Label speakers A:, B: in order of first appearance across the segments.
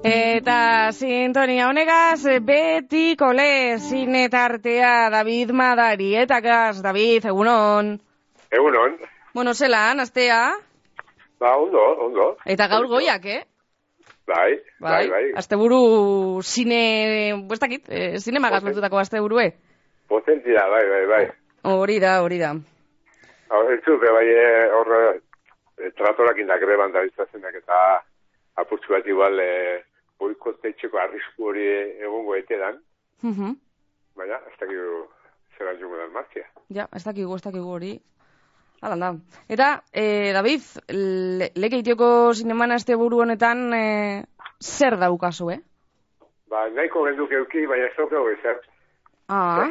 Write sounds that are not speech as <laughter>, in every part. A: Eta sintonia honegaz beti kole zinetartea David Madari eta gaz, David, egunon.
B: Egunon,
A: Bueno, zelan, astea,
B: ba, ondo, ondo.
A: eta gaur goiak, eh?
B: Bai, bai, bai.
A: Asteburu zine, buestakit, eh, zinemagaz
B: Poten-
A: lotutako asteburue.
B: Potentzia, bai, bai, bai.
A: Hori da, hori da.
B: Hau, entzupe, bai, eh, hor, eh, tratorak indakreban da biztazenak eta apurtzu bat igual eh, boikotetxeko arrisku hori egongo etedan,
A: Mhm.
B: baina, ez dakigu zeran jungo dan martia.
A: Ja, ez dakigu, ez dakigu hori. Hala da. Eta, eh, David, le, lekeitioko zineman asteburu honetan eh, zer daukazu, eh?
B: Ba, nahiko genduk euki, baina ez daukau ezer.
A: Ah,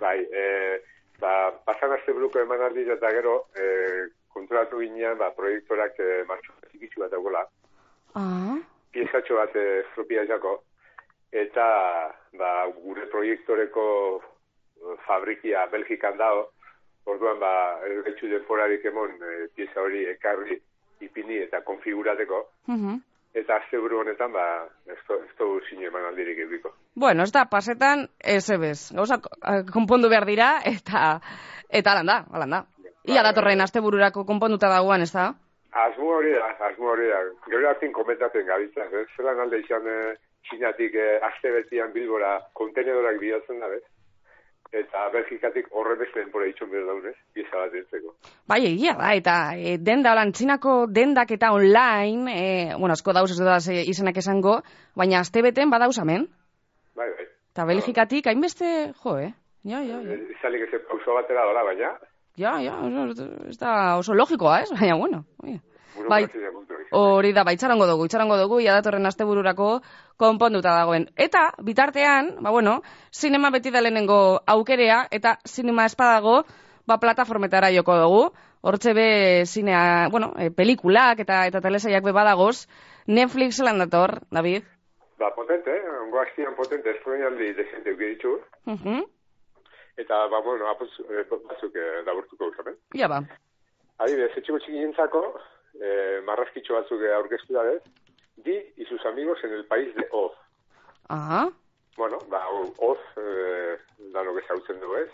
B: bai, eh, ba, pasan azte buruko eman aldi eta gero, eh, konturatu ginean, ba, proiektorak eh, martxu txikitsu bat dagoela.
A: ah,
B: piezatxo bat estropiaizako, eta ba, gure proiektoreko eh, fabrikia Belgikan dago, orduan ba, elgetxu denporarik emon eh, pieza hori ekarri ipini eta konfigurateko,
A: mhm.
B: eta azte buru honetan ba, ez do- ez dugu zine eman aldirik ediko.
A: Bueno, ez da, pasetan ez ebez. Gauza eh, konpondu behar dira, eta eta alan da, alan da. Ia datorren astebururako konponduta dagoan, ez da?
B: Asmo hori da, asmo hori da. Gero hartin komentatzen gabiltza, eh? zelan alde izan eh, txinatik eh, aste betian bilbora kontenedorak bidatzen da, bez? Eta Belgikatik horre beste denpora itxon behar daunez, pieza bat entzeko.
A: Bai, egia da, eta e, denda, holan, txinako dendak eta online, e, bueno, asko dauz ez dudaz e, izenak esango, baina astebeten badauz hemen.
B: Bai, bai.
A: Eta Belgikatik, hainbeste, jo, eh? Ja, ja, ja.
B: Eh, Izalik ez pauso batera dora, baina...
A: Ja, ja, oso- ez da oso logikoa, ez? Baina, bueno, oie. Bai,
B: burokrazia kontu hori.
A: Hori da, baitzarango dugu, itxarango dugu, iadatorren astebururako konponduta dagoen. Eta, bitartean, ba bueno, sinema beti da lehenengo aukerea, eta sinema espadago, ba plataformetara joko dugu. Hortxe be, zinea, bueno, e, pelikulak eta eta telesaiak be badagoz, Netflix lan dator, David.
B: Ba, potente, eh? Ongo hastian potente, estroinaldi desente eukiditu.
A: Mhm.
B: Eta, ba, bueno, apuz, eh, batzuk eh, laburtuko usamen.
A: Ja ba.
B: Adibidez, etxeko txikientzako, eh, marrazkitxo batzuk eh, aurkeztu da, bez? Di y sus amigos en el país de Oz.
A: Aha.
B: Bueno, ba, hau, Oz, eh, danok ezautzen du, ez?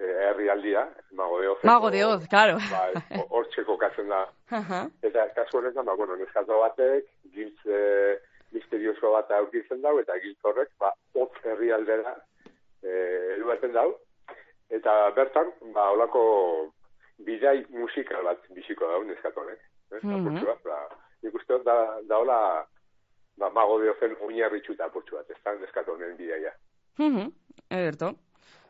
B: Eh, herrialdia, mago de Oz.
A: Mago de Oz,
B: <laughs>
A: claro.
B: Ba,
A: <laughs>
B: ez, hortxe kokatzen da
A: Aha.
B: Eta kasu honetan, ba, bueno, neskato batek, giltz e, misterioso bat aurkitzen dau, eta giltz horrek, ba, hotz herri aldera e, eruaten dau. Eta bertan, ba, olako bidai musikal bat biziko dau neskato honek. Ez,
A: Mhm.
B: apurtxo bat, ba, nik uste dut da, da hola, ba, mago diozen oinarritxuta apurtxo bat, ez da neskato honen bidaia.
A: Mhm. Ederto.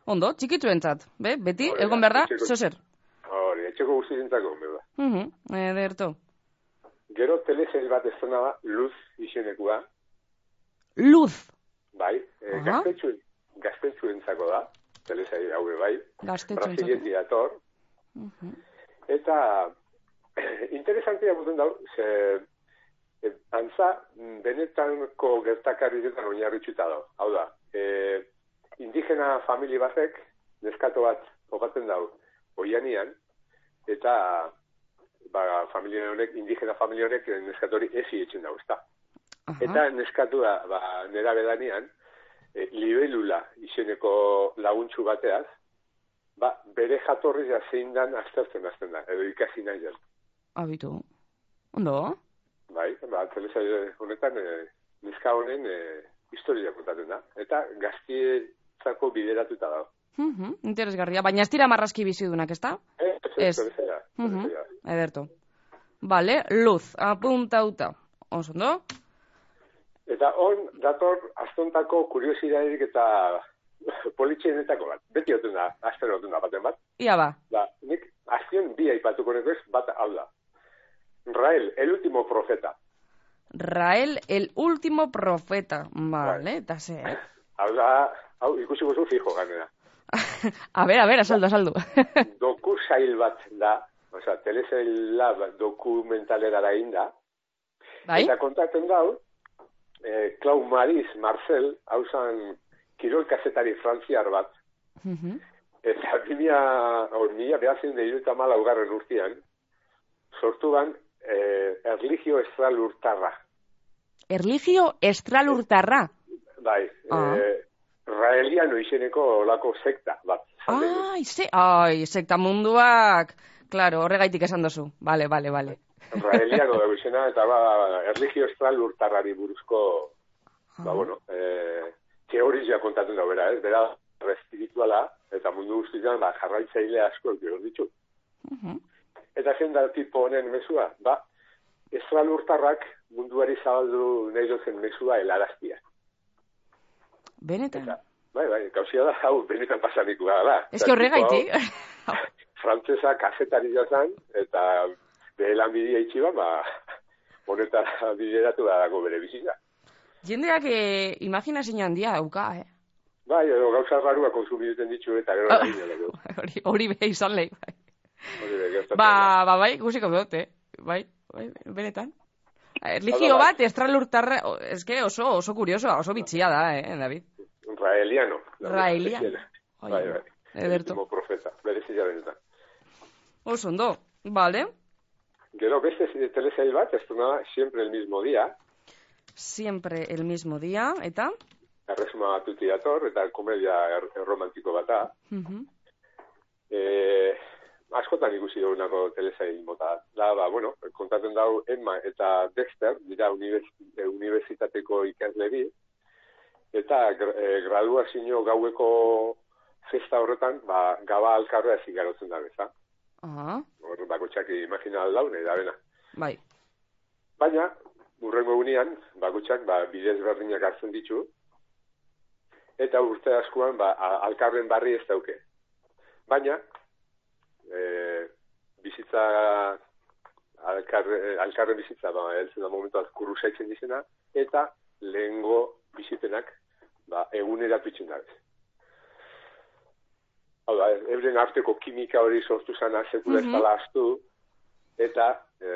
A: Ondo, txikitzuentzat, be? Beti,
B: Hori da,
A: egon behar da,
B: etxeko-
A: zozer.
B: Hori, etxeko guztientzako, beba.
A: Mhm. Ederto.
B: Gero telesail bat ez da, luz izenekua,
A: Luz.
B: Bai, e,
A: Aha.
B: gaztetxuen, gaztetxuentzako da, telesai haue bai,
A: Gaztetxoentzat.
B: Brasilietik dator,
A: Mhm.
B: eta <clears throat> interesantia boten dau, ze e, antza mm, benetanko gertakarrietan oinarritxuta da. Hau da, e, indigena famili batek, neskato bat kokatzen dau, oianian, eta ba, familia honek, indigena familia honek eh, neskatori esi etxen dau, ezta.
A: Aha.
B: Eta neskatu da, ba, nera bedanean, e, libelula izeneko laguntxu bateaz, ba, bere jatorri da zein dan aztertzen azten da, edo ikasi nahi den.
A: Abitu. Ondo?
B: Bai, ba, telesaio honetan, e, neska honen e, historia kontatzen da. Eta gaztietzako bideratuta dago.
A: Mhm, interesgarria. Baina ez dira marrazki bizidunak, ezta?
B: Eh,
A: Ez.
B: telesaioa,
A: Mhm.
B: telesaioa.
A: Ederto. Vale, luz, apuntauta. Oso, ondo?
B: Eta hon, dator, astontako kuriosidaderik eta <laughs> politxenetako bat. Beti oten da, astero oten da baten bat.
A: Ia ba.
B: Ba, nik azken bi aipatuko nuke ez, bat hau da. Rael, el último profeta.
A: Rael, el último profeta. Vale, eta ze. eh?
B: Hau da, hau ikusi guzu fijo ganera.
A: a ber, a ber, azaldu, azaldu.
B: Doku sail bat da, oza, telesail lab dokumentalera inda.
A: <laughs> bai?
B: Eta kontaten dau, eh, Clau Maris Marcel, hau zan kirol kazetari frantziar bat,
A: Mhm.
B: Eta mila, hor, mila behatzen da iruta malaugarren urtean, sortu ban, eh, erligio ezral urtarra.
A: Erligio estralurtarra.
B: Bai,
A: Ah.
B: eh, Raeliano izeneko olako sekta bat. zaldi dut.
A: Ai, ze, ai, sekta munduak. Claro, horregaitik esan dozu. Vale, vale, vale.
B: Raeliano da izena, eta ba, erligio estralurtarrari buruzko,
A: Ah.
B: ba, bueno, eh, teorizia kontatzen da bera, ez? Bera, espirituala, eta mundu guztietan, ba, jarraitzaile asko gero ditu.
A: Ujú.
B: Eta zen da tipo honen mezua, ba, estralurtarrak munduari zabaldu nahi dozen mezua helaraztia.
A: Benetan.
B: Eta, Bai, bai, gauzia da, hau, benetan pasaniko gara da.
A: Ez que horregaitik.
B: Frantzesa kasetari jazan, eta bere lan bidea itxiba, ba, <laughs> honetara bideratu da dago bere bizitza.
A: Jendeak eh, imaginazio handia dauka, eh? <laughs>
B: Bai, edo gauza rarua konsumitzen ditu eta gero
A: Ah.
B: lan bidea dago.
A: Hori, hori be izan lehi, bai.
B: Hori da, gertatzen da.
A: Ba, ba, bai, ikusiko dut, eh? Bai, bai, benetan. Erligio
B: Hala, bai.
A: bat, estralurtarra, o- ez que oso, oso kurioso, oso bitxia da, eh, David?
B: Raeliano. da,
A: Raeliano.
B: bereziena.
A: Oi,
B: Bai, bai.
A: Ederto.
B: Último profeta, berezia benetan.
A: Oso ondo, bale?
B: Gero beste telesail bat, ez da siempre el mismo día,
A: Siempre el mismo día, eta?
B: erresuma batuti dator, eta komedia er, erromantiko bat da.
A: Mhm.
B: Eh, askotan ikusi dugunako telesail mota. Da, ba, bueno, kontatzen dau Emma eta Dexter, dira univers, eh, unibertsitateko ikasle bi, eta gra, eh, graduazio gaueko festa horretan, ba, gaba alkarra ezin garotzen da beza.
A: Aha,
B: Hor, ba, bakotxak imagina aldaune, da bena.
A: Ah, bai.
B: Baina, urrengo egunean, bakotxak ba, bidez berdinak hartzen ditu, eta urte askoan ba, a- alkarren barri ez dauke. Baina, e, bizitza, alkarre, alkarren bizitza, ba, elzen da momentu azkurru saitzen dizena, eta lehengo bizipenak ba, egunera pitzen da bez. Hau da, euren arteko kimika hori sortu zana sekula ez
A: Mhm.
B: dala astu, eta e,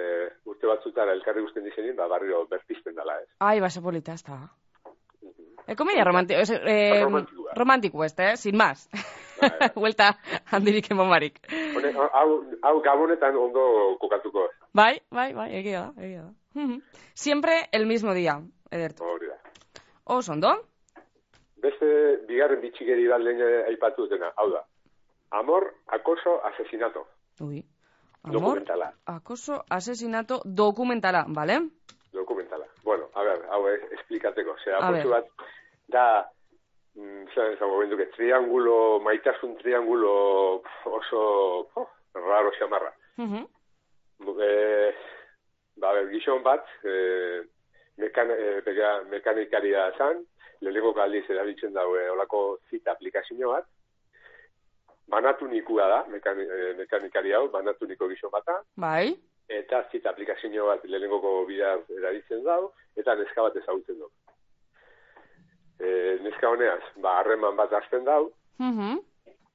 B: urte batzutara elkarri guztien dizenin, ba, barriro berpizten dala ez.
A: Ai, base polita, ez da. E, komedia romantiko, ez, eh,
B: Romantikoa.
A: romantiko ez, da, eh? Sin más.
B: Bai,
A: <laughs>
B: bai.
A: Huelta handirik emon barik.
B: Honek, hau, hau gabonetan ondo kokatuko ez,
A: Bai, bai, bai, egia da, egia da. Mhm. Siempre el mismo día, ederto. Oh,
B: hori da.
A: Oso ondo?
B: Beste bigarren bitxigeri bat lehen eh, aipatu dutena, hau da. Amor, acoso, asesinato.
A: Ui. Amor,
B: Dokumentala.
A: Acoso, asesinato, dokumentala, bale?
B: Dokumentala. Bueno, a ber, hau ez, esplikateko. Zer,
A: A
B: apurtu
A: ber.
B: bat, da, mm, zer esango benduke, triangulo, maitasun triangulo pf, oso oh, raro xamarra.
A: Mhm.
B: E, ba, ber, gizon bat, e, mekan, e, bega, mekanikaria zan, lehenengo aldiz erabiltzen dago e, olako zita aplikazio bat, banatu nikua da, mekan, e, mekanikari hau, banatu niko gizon bata,
A: Bai,
B: eta zita aplikazio bat lehenengoko bidaz erabiltzen dago, eta neska bat ezagutzen dugu. E, neska honeaz, ba, harreman bat hasten dau,
A: Mhm.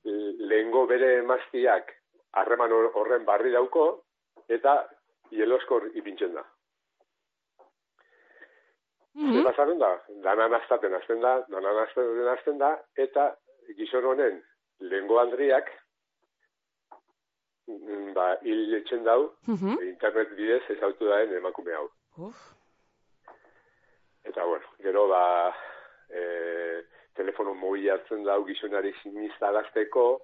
B: lehengo bere emaztiak harreman hor- horren barri dauko, eta hieloskor ipintzen da. Zer
A: Mhm.
B: pasatzen da, danan astaten hasten da, danan astaten hasten da, eta gizon honen lehengo andriak, mm, ba, hil etxen dau,
A: Mhm.
B: internet bidez ezautu daen emakume hau.
A: Uf.
B: Eta bueno, gero ba, e, telefono mobi hartzen dau gizonari sinistarazteko,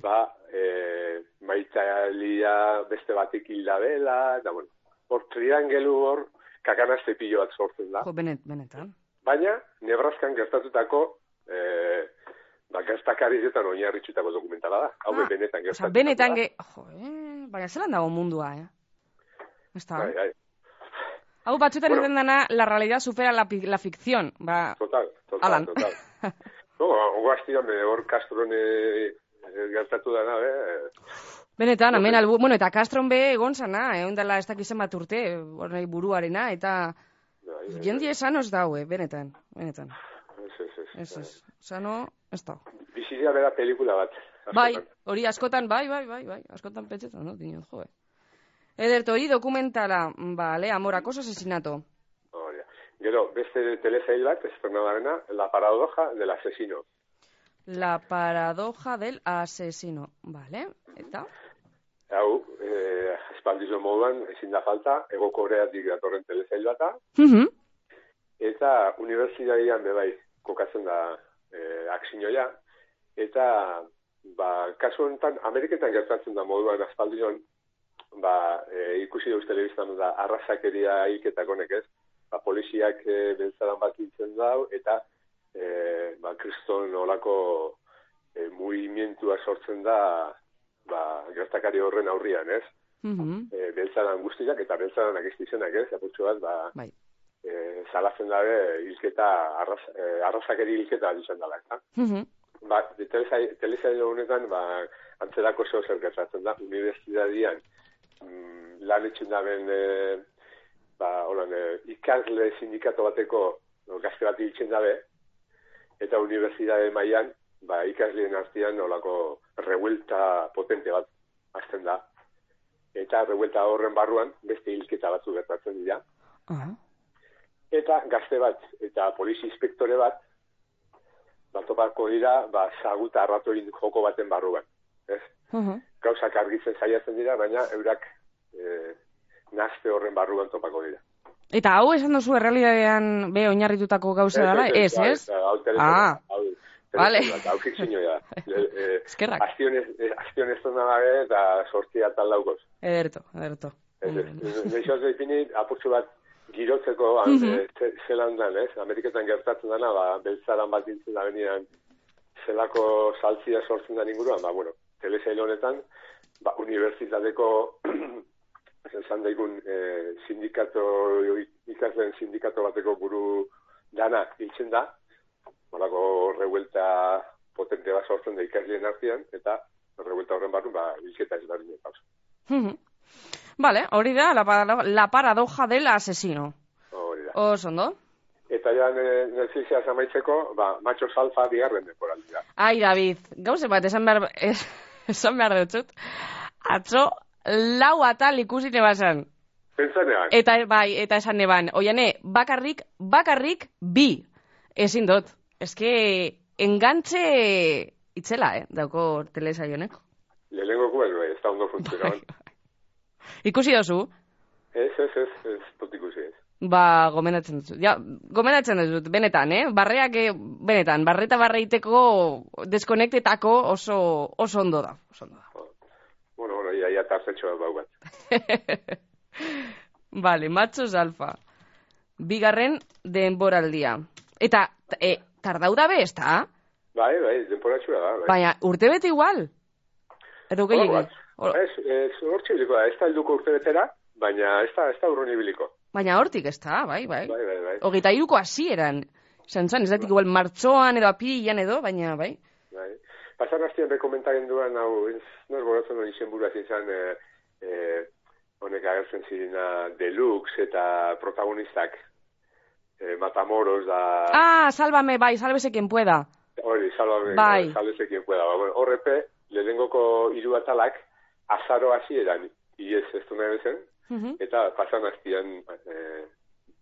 B: ba, e, maitalia beste batek hilda dela, eta bueno, hor triangelu hor, kakanazte pilo bat sortzen da.
A: Jo, benet, benetan.
B: Baina, Nebraskan gertatutako, e, ba, gertakarizetan oinarritxutako dokumentala da. Hau
A: Ah,
B: benetan
A: Osa,
B: gertatuta.
A: benetan
B: da.
A: ge... Jo, eh? Baina zelan dago mundua, eh? Ez da.
B: Bai, bai,
A: Hau batzutan
B: Bueno.
A: bueno. dana, la realidad supera la, pi- la ficción. Ba,
B: total, total,
A: Alan. <laughs>
B: total. No, ongo hastian, hor Castron e, gertatu dana, eh?
A: Benetan, amen,
B: Horre.
A: albu, bueno, eta Castron be egon zana, egon dela ez dakizen bat urte, horrei buruarena, eta
B: Bai, bai,
A: jendi esan os daue, benetan, benetan.
B: Ez, ez, ez.
A: Ez, ez, sano, ez da.
B: Bizitza bai. bera pelikula bat. askotan.
A: Bai, hori askotan, bai, bai, bai, bai, askotan pentsetan, no, dinon, jo, eh. Ederto, hori dokumentala, bale, amorakoz asesinato.
B: Hori da. Gero, beste telesail bat, estrenadarena, La paradoja del asesino.
A: La paradoja del asesino, bale, eta,
B: Hau, eh, espaldizo moduan, ezin da falta, ego koreatik datorren telesail bata,
A: mhm,
B: eta unibertsitatean bebai kokatzen da e, aksinoia, eta ba, kasu honetan Ameriketan gertatzen da moduan aspaldion ba, e, ikusi duz telebiztan da arrazakeria hilketak honek ez, ba, poliziak e, beltzaran bat hiltzen dau, eta e, ba, kriston olako e, mugimentua sortzen da ba, gertakari horren aurrian ez,
A: Mm -hmm.
B: e, beltzaran guztiak eta beltzaran akistizenak ez, apurtxo bat, ba,
A: Bai.
B: e, salatzen dabe hilketa, arraz, e, arrazakeri hilketa izan dela, ezta?
A: Mhm.
B: Ba, telesai- telesail honetan, ba, antzerako zeo zer gertatzen da, unibertsitatean mm, lan etxen daben, e, ba, holan, e, ikasle sindikato bateko no, gazte bat hiltzen dabe, eta unibertsitate mailan ba, ikasleen artean olako revuelta potente bat hasten da. Eta revuelta horren barruan beste hilketa batzu gertatzen dira
A: Aha.
B: eta gazte bat eta polizi inspektore bat bat topako dira ba zaguta arratoin joko baten barruan ez
A: Mhm.
B: gauzak argitzen saiatzen dira baina eurak e, naste horren barruan topako dira
A: Eta hau esan duzu errealidadean be oinarritutako gauza dela, bai, ez, ez?
B: Ba, hau
A: Ah.
B: telefonoa, hau
A: Vale.
B: telefonoa, hau fikzioa
A: <laughs>
B: da Le- eh,
A: Eskerrak.
B: aziones eh, aziones zona gabe eta sortzia tal laukoz
A: Ederto, ederto.
B: Ez,
A: Ondo, ondo.
B: ez, Gaixo ez defini, apurtxo bat girotzeko han,
A: Mhm.
B: eh, ze- zelan dan, ez? Ameriketan gertatzen dana, ba, beltzaran bat dintzen da benian, zelako saltzia sortzen da inguruan, ba, bueno, telesail honetan, ba, unibertsitateko <clears throat> esan daigun eh, sindikato, ikasleen sindikato bateko buru dana hiltzen da, malako revuelta potente bat sortzen da ikasleen artean, eta revuelta horren barru, ba, hilketa ez da
A: Mhm. <laughs> Vale, hori da, la, parado- la paradoja del asesino.
B: Hori da.
A: Oso ondo.
B: Eta ja nire nire amaitzeko, ba, macho salfa bigarren deporaldia.
A: Ai, David, gauze bat, esan behar, <laughs> es, esan behar dutxut. Atzo, lau atal ikusi nebazan.
B: Pentsanean,
A: Eta, bai, eta esan neban, oiane, bakarrik, bakarrik, bi. Ezin dut. Ez que, engantxe itzela, eh, dauko telesaionek.
B: lehenengo guen, <laughs> bai, ez da ondo funtzionaban.
A: Ikusi dozu,
B: Ez, ez, ez, ez, dut ikusi ez.
A: Ba, gomendatzen dut. Ja, gomendatzen dut, benetan, eh? Barreak, eh, benetan, barreta barreiteko deskonektetako oso, oso ondo da. Oso ondo da.
B: Bueno, bueno, ia, ia tartetxo bat bau bat.
A: Vale, machos alfa. Bigarren denboraldia. Eta, t- e, tardau dabe, ez da?
B: Bai, bai, denporatxua da, bai.
A: Baina, urte bete igual. Edo gehiago.
B: Bai, Ez, ez, hortxe biliko da, ez da helduko urtebetera, baina ez da, ez da urrun ibiliko.
A: Baina hortik, ez da, bai, bai.
B: Bai, bai, bai.
A: Hogeita iruko hasieran. Zantzan, ez dakit igual martxoan edo apirilan edo, baina, bai.
B: Bai. Pasan hastian rekomentaren duan, hau, ez nor goratzen hori izenburua izan, eh, eh, honek agertzen zirena deluxe eta protagonistak, eh, Matamoros da...
A: Ah, sálvame, bai, sálvese quien pueda.
B: Hori, salbame,
A: Bai.
B: bai. salbezekin pueda. Ba, bueno, horrepe, lehenengoko hiru atalak, azaro hasi eran, iez ez du nahi bezen,
A: Mhm.
B: eta pasan aztian eh,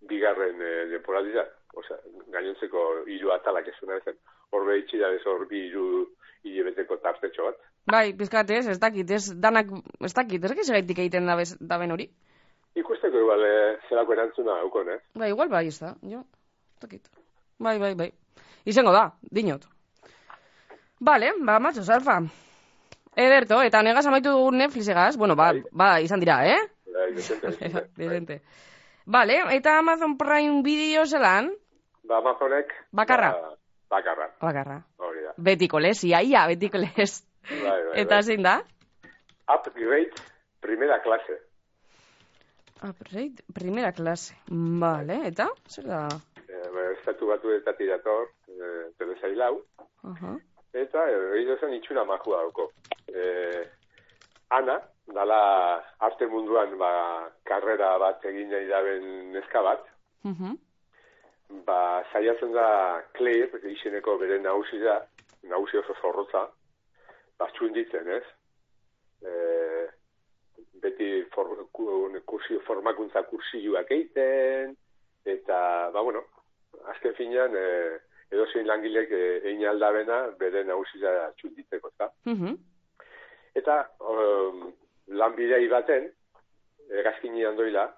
B: bigarren eh, denporaldia, osea, gainontzeko hiru atalak ez du nahi bezen. Horbe itxi da bez hor bi hiru hilebeteko tartetxo bat.
A: Bai, pizkat ez, ez dakit, ez danak, ez dakit, ez dakit gaitik egiten da bez, daben hori.
B: Ikusteko igual, eh, zelako erantzuna daukon, eh?
A: Bai, igual bai, ez da, jo, ez dakit. Bai, bai, bai. Izango da, dinot. Bale, ba, matxo, salfa. Ederto, eta negaz amaitu dugu Netflixegaz, bueno, ba,
B: Bai.
A: ba, izan dira,
B: <laughs>
A: eh?
B: Bai, Decente, decente. Bai.
A: Dezente. Vale, eta Amazon Prime Video zelan,
B: Ba, Amazonek...
A: Bakarra.
B: Ba, bakarra,
A: bakarra.
B: hori da.
A: Betiko lez, ia, ia, betiko lez.
B: Bai, bai,
A: Eta
B: bai.
A: zein da?
B: Upgrade, primera klase.
A: Ah, Upgrade, primera klase. Vale, eta? Zer da?
B: Eh, ba, estatu batu eta tirator, eh, telesail hau,
A: Aha.
B: eta eh, hori zen itxura majua dauko. Eh, Ana, dala arte munduan ba, karrera bat egin nahi daben neska bat,
A: Mhm.
B: ba, saiatzen da Claire, izeneko bere nagusi da, nagusi oso zorrotza, ba, txunditzen, ez? E, beti for, ku- kursi, formakuntza kursioak egiten, eta, ba, bueno, azken finean, e, edozein langilek e, egin aldabena bere nagusi da txunditzeko, ezta?
A: Mhm.
B: Eta um, lanbidei baten, egazkini handoila,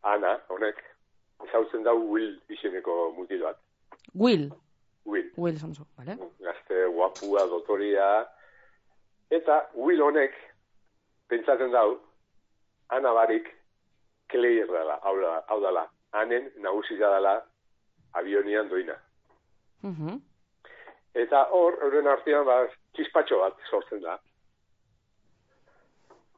B: Ana, honek, ezautzen dau Will izeneko mutil bat.
A: Will,
B: Will.
A: Will Samsu, bale?
B: Gazte guapua, dotoria. Eta Will honek, pentsatzen dau, Ana Barik, Claire dela, hau da- hau dala, hanen nagusia dela abionian doina.
A: Mhm.
B: Eta hor, euren artean, ba, txispatxo bat sortzen da.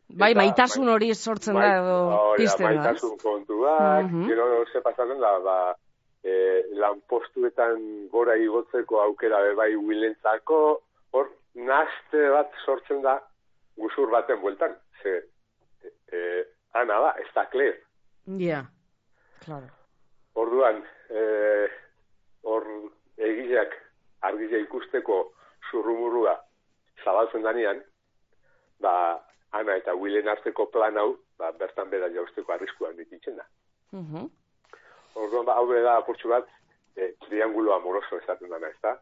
A: Bai,
B: Eta- bai-
A: maitasun Bai, hori sortzen da edo
B: hori da,
A: pizten da.
B: Maitasun kontuak,
A: Mhm.
B: gero ze pasatzen da, ba, e, lanpostuetan gora igotzeko aukera be bai Willentzako, hor naste bat sortzen da guzur baten bueltan. Ze, e, ana da, ez da Claire.
A: Ja, claro.
B: Orduan, eh, hor egileak argila ikusteko zurrumurrua zabaltzen danean, ba, Ana eta Willen arteko plan hau, ba, bertan bera jausteko arriskuan dikitzen da.
A: Mhm.
B: Orduan, ba, hau da apurtxu bat, eh, triangulo amoroso esaten dana, ez da?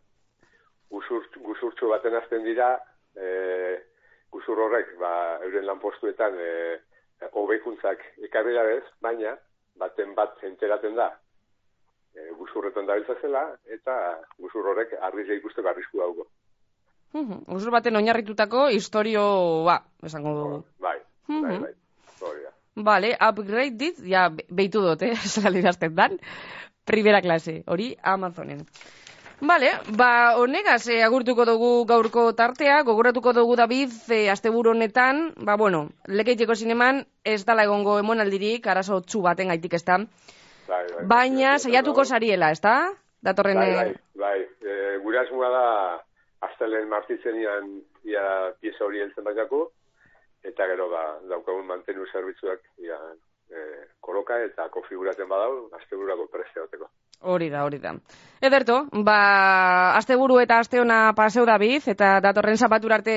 B: Guzurt, guzurtxu baten azten dira, eh, guzur horrek, ba, euren lanpostuetan eh, hobekuntzak ekarri da bez, baina, baten bat enteraten da, eh, guzurretan dabiltza zela, eta guzur horrek arrizia ikusteko arrisku dauko.
A: Mhm. Usur baten oinarritutako historio, ba, esango dugu.
B: Bai, bai,
A: Mhm.
B: bai. Hori da.
A: Vale, upgrade dit, ja, be- beitu dut, eh, <laughs> zelarazten dan. Primera klase, hori Amazonen. Vale, ba, honegaz eh, agurtuko dugu gaurko tartea, gogoratuko dugu David, eh, asteburu honetan, ba, bueno, lekeiteko zineman, ez dala egongo emonaldirik, arazo txu baten gaitik ez da.
B: Bai, bai,
A: Baina,
B: bai.
A: saiatuko sariela, ez da? Datorren...
B: Bai,
A: eh,
B: bai, bai. E, gure asmoa da, astelen martitzenian ia pieza hori heltzen baitako, eta gero ba, daukagun mantenu zerbitzuak ia, e, koloka eta konfiguratzen badau, astebururako preste duteko.
A: Hori da, hori da. Ederto, ba, asteburu eta aste ona paseu David, eta datorren zapatura arte.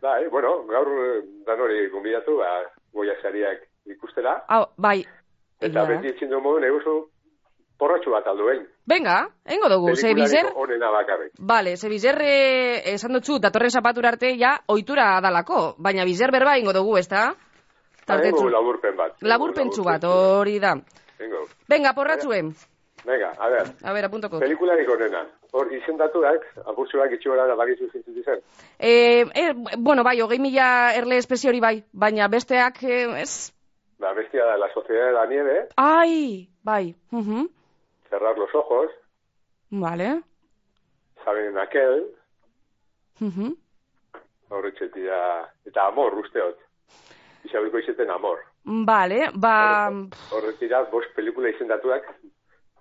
B: Bai, bueno, gaur eh, danori gombidatu, ba, goia sariak ikustera,
A: Hau, bai,
B: eta
A: egia da.
B: beti itzin duen moduen eguzu porratxu bat aldu behin.
A: Venga, engo dugu, ze bizer...
B: Pelikulariko Onena bakarrik.
A: Bale, ze bizer eh, esan dutxu, datorren zapatura arte ja ohitura dalako, baina bizer berba ingo dugu, ez da?
B: Tartetxu.
A: Tartetxu.
B: Bai, Laburpen bat.
A: Laburpentsu bat, oh. hori da.
B: Vengo.
A: Venga, porratzuen.
B: Venga, a ver.
A: A ber, apuntoko.
B: Pelikularik onena. Hor, izendatuak, apurtsuak itxi gora da bakizu zintzut izan.
A: Eh, eh, bueno, bai, hogei mila erle espezie hori bai, baina besteak, eh, ez...
B: Ba, bestia da, la sociedad de la nieve,
A: Ai, bai, mhm,
B: cerrar los ojos,
A: vale,
B: saben en aquel,
A: mhm.
B: horretxetia, eta amor, usteot. Isabelko izeten amor.
A: Vale, ba...
B: Horretira, bost pelikula izendatuak,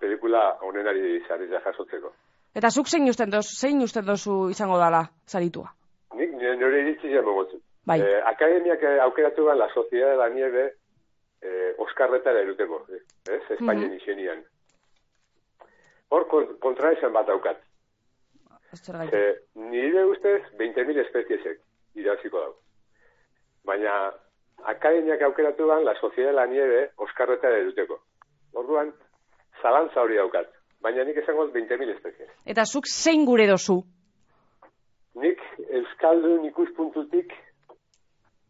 B: pelikula onenari zarri da jasotzeko.
A: Eta zuk zein usten dozu, zein usten dozu izango dala zaritua?
B: Nik nire nire iritsi zen mogotzen.
A: Bai.
B: Eh, akademiak eh, aukeratu ban la sociedad de la nieve eh, Oskarretara eruteko, eh, ez? Espainien izenian. Hor kon- kontra esan bat daukat.
A: Zergatik.
B: Eh, nire ustez 20.000 espeziesek iraziko dago. Baina akademiak aukeratu ban la sociedad de la nieve Oskarretara eruteko. Orduan, zalantza hori daukat. Baina nik esango dut 20.000 espezies.
A: Eta zuk zein gure dozu?
B: Nik euskaldun ikuspuntutik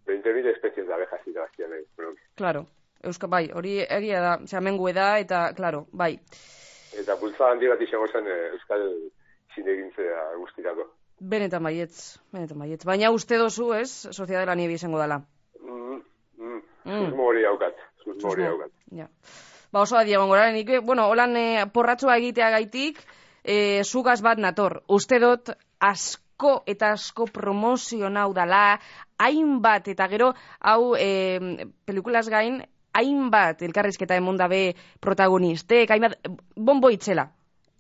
B: 20.000 espezies da abejas irabazia nahi. Bueno,
A: Claro. Euska, bai, hori egia da, osea, mengue da, eta, claro, bai.
B: eta bultza handi bat izango zen eh, euskal zinegintzea guztirako.
A: Benetan baietz, benetan baietz. Baina uste dozu, ez, Sociedad de la Nieve izango dala.
B: Mm, mm,
A: Mm.
B: Susmo hori haukat, susmo hori haukat.
A: Ja. Ba, oso adi egon gora, nik, eh, bueno, holan eh, porratxoa egitea gaitik, eh, zugaz bat nator. Uste dut, asko eta asko promozionau dala, hainbat, eta gero, hau, eh, pelikulas gain, hainbat elkarrizketa emonda be protagonistek, hainbat, bombo itzela,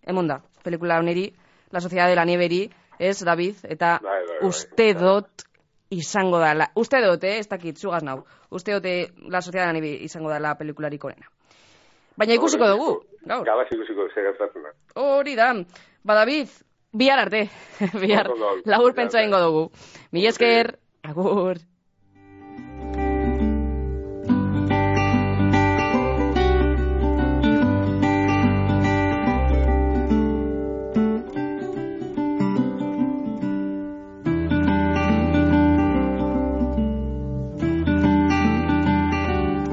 A: emonda, pelikula honeri, La Sociedad de la Nieberi, ez, David, eta
B: Bai, bai, bai.
A: uste dut, izango dala. Uste dut, eh, ez dakit, zugaz nau. Uste dut, eh, La Sociedad de la Nieve izango dala pelikularik onena. Baina ikusiko dugu, gaur.
B: Gabaz ikusiko, ze gertatzen da.
A: Hori da. Ba, David, bihar arte. <laughs> bihar,
B: Ondo, ondo.
A: labur pentsa
B: Bihar,
A: ingo dugu. Mil esker, agur.